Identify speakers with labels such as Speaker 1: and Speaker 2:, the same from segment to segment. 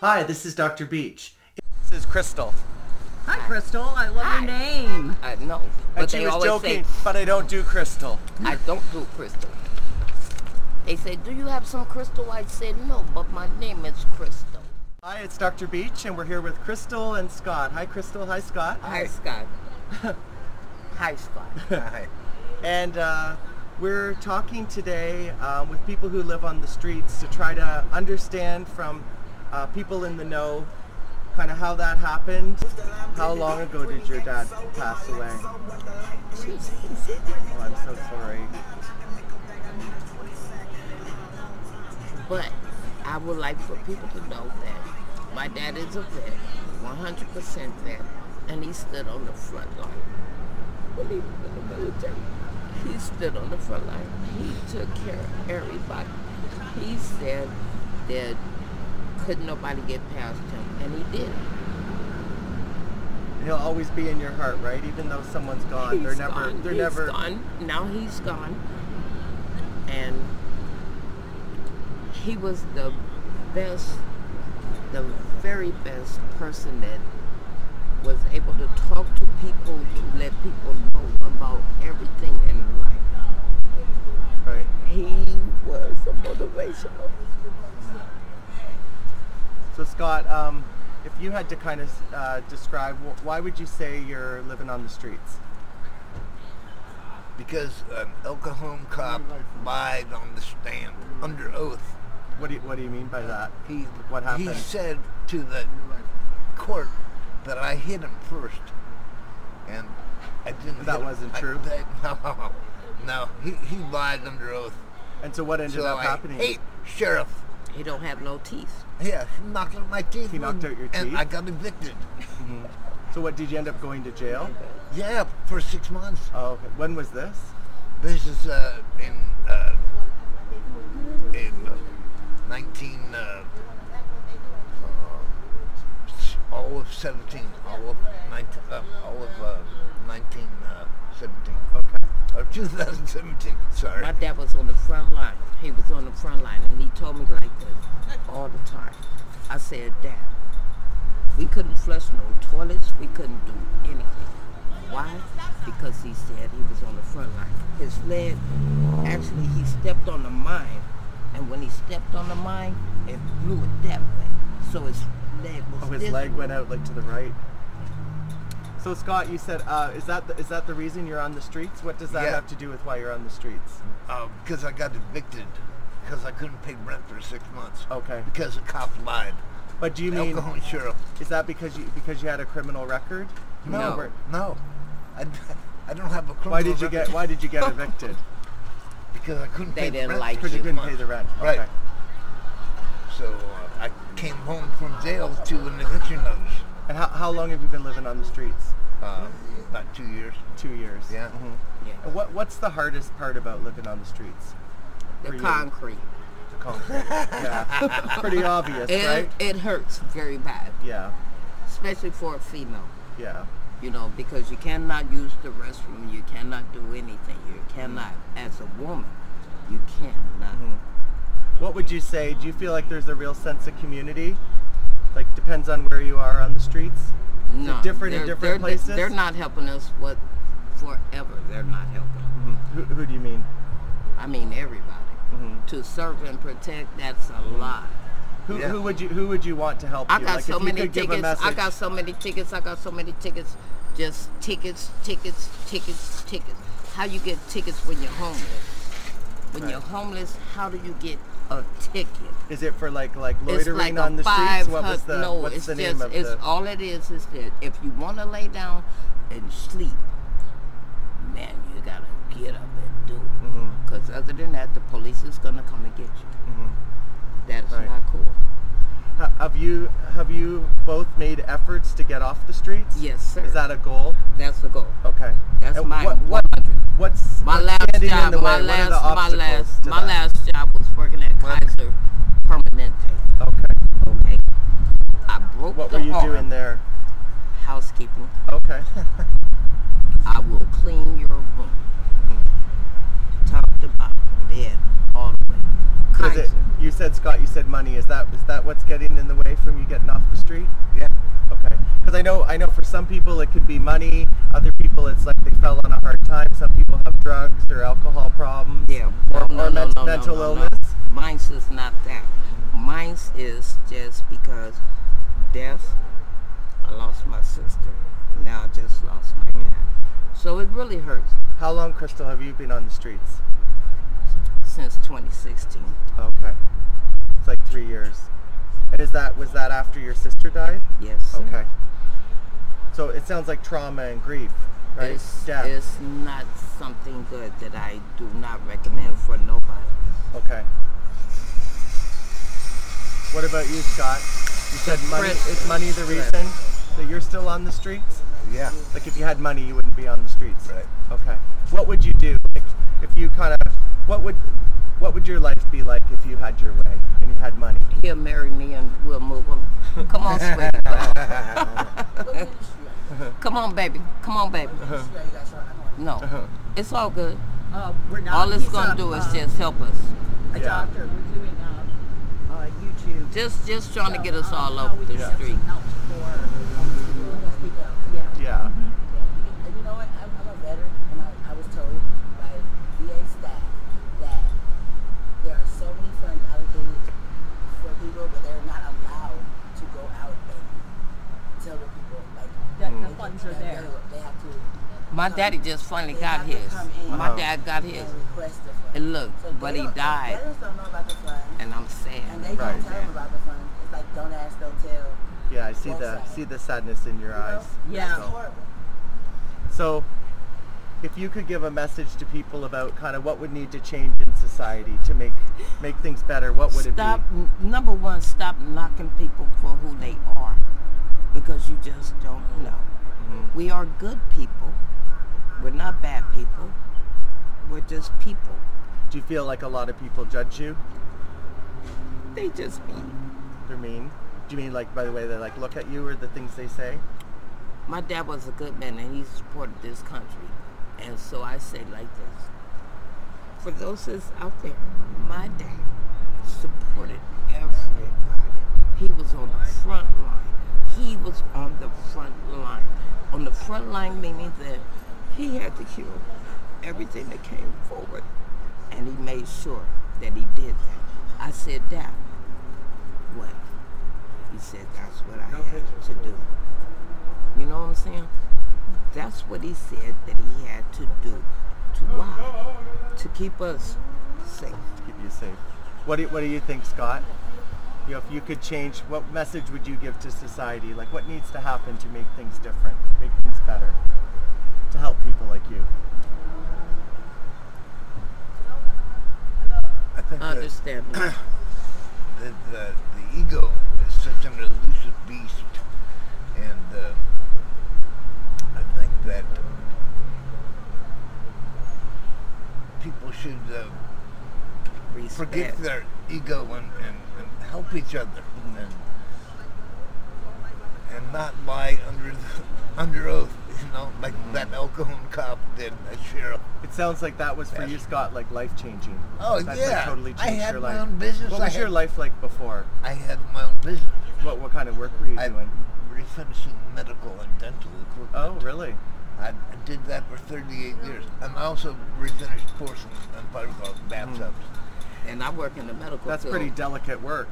Speaker 1: Hi, this is Dr. Beach.
Speaker 2: This is Crystal.
Speaker 3: Hi, Crystal. I love your name.
Speaker 4: I know,
Speaker 2: And
Speaker 4: but
Speaker 2: she
Speaker 4: they
Speaker 2: was
Speaker 4: always
Speaker 2: joking, but I don't do Crystal.
Speaker 4: say I don't do crystal. They say, "Do you have some crystal?" I said, "No, but my name is Crystal."
Speaker 1: Hi, it's Dr. Beach, and we're here with Crystal and Scott. Hi, Crystal. Hi, Scott.
Speaker 4: Hi, Scott. Hi, Scott.
Speaker 1: Hi. And uh, we're talking today um, with people who live on the streets to try to understand from uh, people in the know kind of how that happened. How long ago did your dad pass away? Oh, I'm so sorry.
Speaker 4: But I would like for people to know that my dad is a vet, 100% vet, and he stood on the front line. When he was in the military, he stood on the front line. He took care of everybody. He said that couldn't nobody get past him, and he did.
Speaker 1: He'll always be in your heart, right? Even though someone's gone, they're
Speaker 4: He's
Speaker 1: never,
Speaker 4: gone.
Speaker 1: they're
Speaker 4: He's
Speaker 1: never,
Speaker 4: gone. Now he's gone. And he was the best, the very best person that was able to talk to people, to let people know about everything in life.
Speaker 1: right?
Speaker 4: He was a motivational.
Speaker 1: So Scott, um, if you had to kind of uh, describe, wh- why would you say you're living on the streets?
Speaker 5: because an Oklahoma cop lied on the stand under oath.
Speaker 1: What do you, what do you mean by that?
Speaker 5: He
Speaker 1: What
Speaker 5: He
Speaker 1: happened?
Speaker 5: said to the court that I hit him first, and I didn't.
Speaker 1: That
Speaker 5: hit him.
Speaker 1: wasn't
Speaker 5: I-
Speaker 1: true?
Speaker 5: that- no, no, he, he lied under oath.
Speaker 1: And so what ended
Speaker 5: so
Speaker 1: up
Speaker 5: I
Speaker 1: happening?
Speaker 5: hate sheriff.
Speaker 4: He don't have no teeth.
Speaker 5: Yeah, he knocked out my teeth.
Speaker 1: He knocked
Speaker 5: one,
Speaker 1: out your teeth?
Speaker 5: And I got evicted.
Speaker 1: So what did you end up going to jail?
Speaker 5: Yeah, for six months.
Speaker 1: Oh, okay. when was this?
Speaker 5: This is uh, in uh, in uh, nineteen uh, uh, s- all of seventeen, all of nineteen, uh, all of uh, nineteen uh, seventeen,
Speaker 1: Okay.
Speaker 5: or two thousand seventeen. Sorry.
Speaker 4: My dad was on the front line. He was on the front line, and he told me like this all the time. I said, Dad, we couldn't flush no toilets. We couldn't do anything. Why? Because he said he was on the front line. His leg, actually, he stepped on the mine, and when he stepped on the mine, it blew it that way. So his leg was.
Speaker 1: Oh, his
Speaker 4: this
Speaker 1: leg went out like to the right. So Scott, you said, uh, is that the, is that the reason you're on the streets? What does that
Speaker 5: Yeah.
Speaker 1: have to do with why you're on the streets?
Speaker 5: Because Um, I got evicted because I couldn't pay rent for six months.
Speaker 1: Okay.
Speaker 5: Because a cop lied.
Speaker 1: But do you
Speaker 5: An
Speaker 1: mean
Speaker 5: Oklahoma sheriff.
Speaker 1: is that because you because you had a criminal record?
Speaker 5: No,
Speaker 1: Or-
Speaker 5: no. I, d- I don't have a criminal
Speaker 1: Why did you get
Speaker 5: record
Speaker 1: Why did you get evicted?
Speaker 5: Because I couldn't
Speaker 4: They
Speaker 5: pay
Speaker 4: didn't
Speaker 5: rent
Speaker 4: like
Speaker 5: for
Speaker 1: Because you
Speaker 5: six
Speaker 1: couldn't pay
Speaker 5: months.
Speaker 1: the rent.
Speaker 5: Right.
Speaker 1: Okay.
Speaker 5: So uh, I came home from jail to an eviction notice.
Speaker 1: And how, how long have you been living on the streets?
Speaker 5: Uh, about two years.
Speaker 1: Two years.
Speaker 5: Yeah.
Speaker 1: Mhm.
Speaker 4: Yeah.
Speaker 1: And what what's the hardest part about living on the streets?
Speaker 4: The
Speaker 1: for you?
Speaker 4: concrete.
Speaker 1: The concrete. yeah. Pretty obvious,
Speaker 4: It,
Speaker 1: right?
Speaker 4: it hurts very bad,
Speaker 1: Yeah.
Speaker 4: especially for a female.
Speaker 1: Yeah.
Speaker 4: you know, because you cannot use the restroom, you cannot do anything, you cannot, as a woman, you cannot.
Speaker 1: Mm-hmm. What would you say? Do you feel like there's a real sense of community? Like depends on where you are on the streets.
Speaker 4: No,
Speaker 1: different in
Speaker 4: they're-
Speaker 1: different
Speaker 4: they're-
Speaker 1: places?
Speaker 4: They're not helping us what forever. They're not helping.
Speaker 1: Who, who do you mean?
Speaker 4: I mean everybody.
Speaker 1: Mm-hmm.
Speaker 4: To serve and protect, that's a lot.
Speaker 1: Who,
Speaker 5: Yeah.
Speaker 1: who would you Who would you want to help
Speaker 4: I
Speaker 1: you?
Speaker 4: got
Speaker 1: Mm-hmm. like
Speaker 4: so
Speaker 1: if you
Speaker 4: many
Speaker 1: could give a
Speaker 4: tickets.
Speaker 1: message.
Speaker 4: I got so many tickets. I got so many tickets. Just tickets, tickets, tickets, tickets. How you get tickets when you're homeless? When you're homeless, how do you get a ticket?
Speaker 1: Is it for like like
Speaker 4: it's
Speaker 1: loitering
Speaker 4: like
Speaker 1: on
Speaker 4: a
Speaker 1: the
Speaker 4: five
Speaker 1: streets? What was
Speaker 4: hun-
Speaker 1: the
Speaker 4: no,
Speaker 1: what's
Speaker 4: it's
Speaker 1: the
Speaker 4: just
Speaker 1: name of
Speaker 4: it's
Speaker 1: the?
Speaker 4: all it is is that if you want to lay down and sleep, man, you gotta get up and do it.
Speaker 1: Mm-hmm.
Speaker 4: Because other than that, the police is gonna come and get you. That is
Speaker 1: Right.
Speaker 4: not cool.
Speaker 1: Ha- Have you have you both made efforts to get off the streets?
Speaker 4: Yes, sir.
Speaker 1: Is that a goal?
Speaker 4: That's the goal.
Speaker 1: Okay.
Speaker 4: That's
Speaker 1: And
Speaker 4: my
Speaker 1: what, what what's
Speaker 4: my
Speaker 1: what's
Speaker 4: last
Speaker 1: standing
Speaker 4: job.
Speaker 1: in the
Speaker 4: my
Speaker 1: way?
Speaker 4: last
Speaker 1: what are the
Speaker 4: my
Speaker 1: obstacles
Speaker 4: last
Speaker 1: to
Speaker 4: my
Speaker 1: that?
Speaker 4: last job was working at
Speaker 1: What-
Speaker 4: Kaiser Permanente.
Speaker 1: Okay.
Speaker 4: Okay, I broke
Speaker 1: What
Speaker 4: the
Speaker 1: were you
Speaker 4: arm.
Speaker 1: doing there?
Speaker 4: Housekeeping.
Speaker 1: Okay.
Speaker 4: I will clean your room. Top to bottom, bed, all the way.
Speaker 1: Is it,
Speaker 4: Kaiser.
Speaker 1: you said Scott. You said money. Is that is that what's getting in the way from you getting off the street?
Speaker 5: Yeah.
Speaker 1: Okay. Because I know I know for some people it could be money. Other people it's like they fell on a hard time. Some people have drugs or alcohol problems.
Speaker 4: Yeah.
Speaker 1: Or,
Speaker 4: no,
Speaker 1: or
Speaker 4: no,
Speaker 1: men-
Speaker 4: no, no,
Speaker 1: mental
Speaker 4: no, no.
Speaker 1: illness.
Speaker 4: Mine's is not that. Mine's is just because death. I lost my sister. Now I just lost my dad. So it really hurts
Speaker 1: How long, Crystal, have you been on the streets?
Speaker 4: since 2016.
Speaker 1: Okay. It's like three years. And is that was that after your sister died?
Speaker 4: Yes. sir.
Speaker 1: Okay. So it sounds like trauma and grief, right?
Speaker 4: It's,
Speaker 1: Death.
Speaker 4: it's not something good that I do not recommend for nobody.
Speaker 1: Okay. What about you, Scott? You said money.
Speaker 4: prison.
Speaker 1: Is money the reason that you're still on the streets?
Speaker 5: Yeah.
Speaker 1: Like, if you had money, you wouldn't be on the streets.
Speaker 5: Right.
Speaker 1: Okay. What would you do? Like, if you kind of, what would, what would your life be like if you had your way and you had money?
Speaker 4: He'll marry me and we'll move on. Come on, sweetie. Come on, baby. Come on, baby. No, it's all good.
Speaker 3: Uh, we're not.
Speaker 4: All it's
Speaker 3: he's
Speaker 4: gonna
Speaker 3: a,
Speaker 4: do is
Speaker 3: uh,
Speaker 4: just help us.
Speaker 3: A
Speaker 1: Yeah.
Speaker 3: doctor. We're doing uh, uh, YouTube.
Speaker 4: Just, just trying to get us
Speaker 3: So, um,
Speaker 4: all
Speaker 3: how we
Speaker 4: over
Speaker 3: can
Speaker 4: the
Speaker 3: have some
Speaker 4: street.
Speaker 6: Uh,
Speaker 3: help for homeless people. Yeah.
Speaker 1: Yeah.
Speaker 6: And you know what? I'm, I'm a veteran, and I, I was told by VA staff that there are so many funds allocated for people, but they're not allowed to go out and tell the people like
Speaker 3: That the
Speaker 6: they-
Speaker 3: funds are
Speaker 6: that
Speaker 3: there.
Speaker 6: They, they have to.
Speaker 4: My
Speaker 6: come-
Speaker 4: daddy just finally
Speaker 6: they
Speaker 4: got
Speaker 6: have to
Speaker 4: his.
Speaker 6: come in
Speaker 4: My dad got his.
Speaker 6: And request the funds.
Speaker 4: And look,
Speaker 6: So they
Speaker 4: but he
Speaker 6: don't-
Speaker 4: died,
Speaker 6: Veterans don't know about the funds,
Speaker 4: and I'm
Speaker 6: and
Speaker 4: sad.
Speaker 6: they
Speaker 1: Right.
Speaker 6: don't tell them about the funds. It's like don't ask, don't tell. you
Speaker 1: Yeah. I see the see the sadness in your
Speaker 6: know?
Speaker 1: eyes.
Speaker 3: Yeah.
Speaker 6: That's horrible.
Speaker 1: So, if you could give a message to people about kind of what would need to change in society to make make things better, what would
Speaker 4: Stop.
Speaker 1: it be?
Speaker 4: n- Number one, stop knocking people for who they are, because you just don't know.
Speaker 1: Mm-hmm.
Speaker 4: We are good people. We're not bad people. We're just people.
Speaker 1: Do you feel like a lot of people judge you?
Speaker 4: They just mean.
Speaker 1: They're mean. Do you mean like by the way they like look at you or the things they say?
Speaker 4: My dad was a good man, and he supported this country. And so I say like this: for those that's out there, my dad supported everybody. He was on the front line. He was on the front line. On the front line meaning that he had to kill everything that came forward. And he made sure that he did that. I said, Dad, what? He said, that's what I had to do. You know what I'm saying? That's what he said that he had to do. To why? To keep us safe.
Speaker 1: Keep you safe. What do what do you think, Scott? You know, if you could change, what message would you give to society? Like, what needs to happen to make things different, make things better, to help people like you?
Speaker 5: I think that,
Speaker 4: Understand me.
Speaker 5: that the, the ego is such an elusive beast, and uh, I think that people should uh, forget
Speaker 4: Respect.
Speaker 5: their ego and, and, and help each other, and and not lie under the, under oath, you know, like
Speaker 1: Mm-hmm.
Speaker 5: that alcohol cop did, that sheriff.
Speaker 1: It sounds like that was for you, Scott, like life changing.
Speaker 5: Oh
Speaker 1: That's
Speaker 5: yeah,
Speaker 1: like totally changed
Speaker 5: I had
Speaker 1: your
Speaker 5: my
Speaker 1: life.
Speaker 5: own business.
Speaker 1: What
Speaker 5: I
Speaker 1: was
Speaker 5: had,
Speaker 1: your life like before?
Speaker 5: I had my own business.
Speaker 1: What what kind of work were you
Speaker 5: I'm
Speaker 1: doing?
Speaker 5: refinishing medical and dental equipment.
Speaker 1: Oh, really?
Speaker 5: I I did that for 38 years, and I also refinished porcelain and fiberglass bathtubs.
Speaker 1: Mm.
Speaker 4: And I work in the medical
Speaker 1: That's
Speaker 4: field.
Speaker 1: pretty delicate work.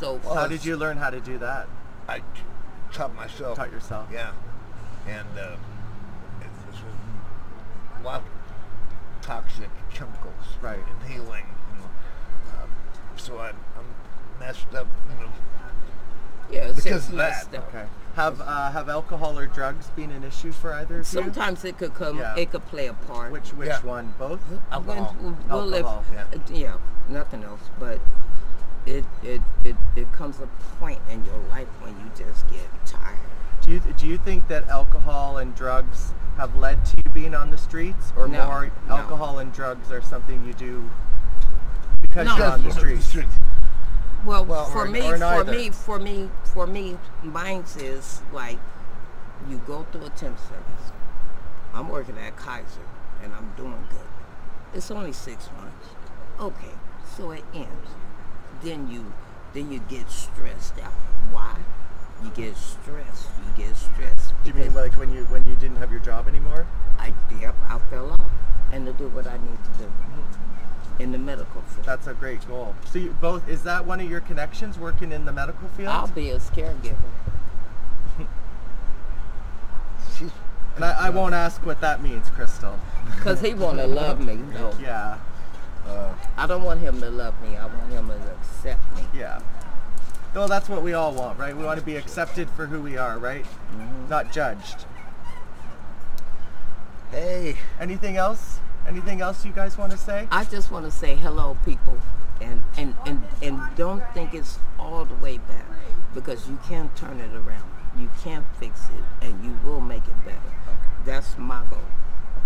Speaker 4: So uh,
Speaker 1: How
Speaker 5: Well,
Speaker 1: did you learn how to do that?
Speaker 5: I t- taught myself.
Speaker 1: Taught yourself.
Speaker 5: Yeah, and uh, it, this was a lot toxic chemicals.
Speaker 1: Right.
Speaker 5: Inhaling. You know, um, so I'm, I'm messed up. You know,
Speaker 4: Yeah, it's
Speaker 5: Because
Speaker 4: just
Speaker 5: of that,
Speaker 4: messed up.
Speaker 1: Okay. Have uh, have alcohol or drugs been an issue for either of you?
Speaker 4: Sometimes it could come.
Speaker 1: Yeah.
Speaker 4: It could play a part.
Speaker 1: Which which
Speaker 5: Yeah.
Speaker 1: one? Both?
Speaker 5: alcohol.
Speaker 4: Well, well, if-
Speaker 1: Alcohol,
Speaker 5: yeah.
Speaker 4: uh, yeah, nothing else. But it it, it it comes a point in your life when you just get tired.
Speaker 1: Do you do you think that alcohol and drugs have led to you being on the streets, or
Speaker 4: No,
Speaker 1: more
Speaker 4: no.
Speaker 1: alcohol and drugs are something you do because
Speaker 4: No.
Speaker 1: you're on the streets?
Speaker 4: Well,
Speaker 1: Well,
Speaker 4: for
Speaker 1: or-
Speaker 4: me,
Speaker 1: or
Speaker 4: for
Speaker 1: neither.
Speaker 4: me, for me, for me, mine's is like you go through a temp service. I'm working at Kaiser and I'm doing good. It's only six months. Okay, so it ends. Then you, then you get stressed out. Why? You get stressed. You get stressed.
Speaker 1: Do you mean
Speaker 4: because-
Speaker 1: like when you when you didn't have your job anymore?
Speaker 4: I yep, I fell off, and to do what I need to do in the medical field.
Speaker 1: That's a great goal. So you both is that one of your connections working in the medical field?
Speaker 4: I'll be a caregiver.
Speaker 5: She's,
Speaker 1: and I, I won't ask what that means, Crystal.
Speaker 4: Cause he wanna love me though.
Speaker 1: Yeah,
Speaker 4: I don't want him to love me. I want him to accept me.
Speaker 1: yeah. Well, that's what we all want, right? We want to be accepted for who we are, right?
Speaker 4: Mm-hmm.
Speaker 1: Not judged.
Speaker 5: hey.
Speaker 1: Anything else? Anything else you guys want to say?
Speaker 4: I just want to say hello, people, and and and and don't think it's all the way back because you can turn it around. You can fix it, and you will make it better. That's my goal.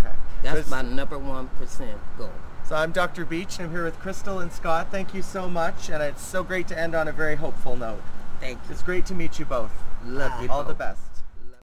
Speaker 1: Okay.
Speaker 4: That's
Speaker 1: Chris-
Speaker 4: my number one percent goal.
Speaker 1: So I'm Dr. Beach, and I'm here with Crystal and Scott. Thank you so much, and it's so great to end on a very hopeful note.
Speaker 4: Thank you.
Speaker 1: It's great to meet you both.
Speaker 4: Love you
Speaker 1: All the
Speaker 4: both.
Speaker 1: best.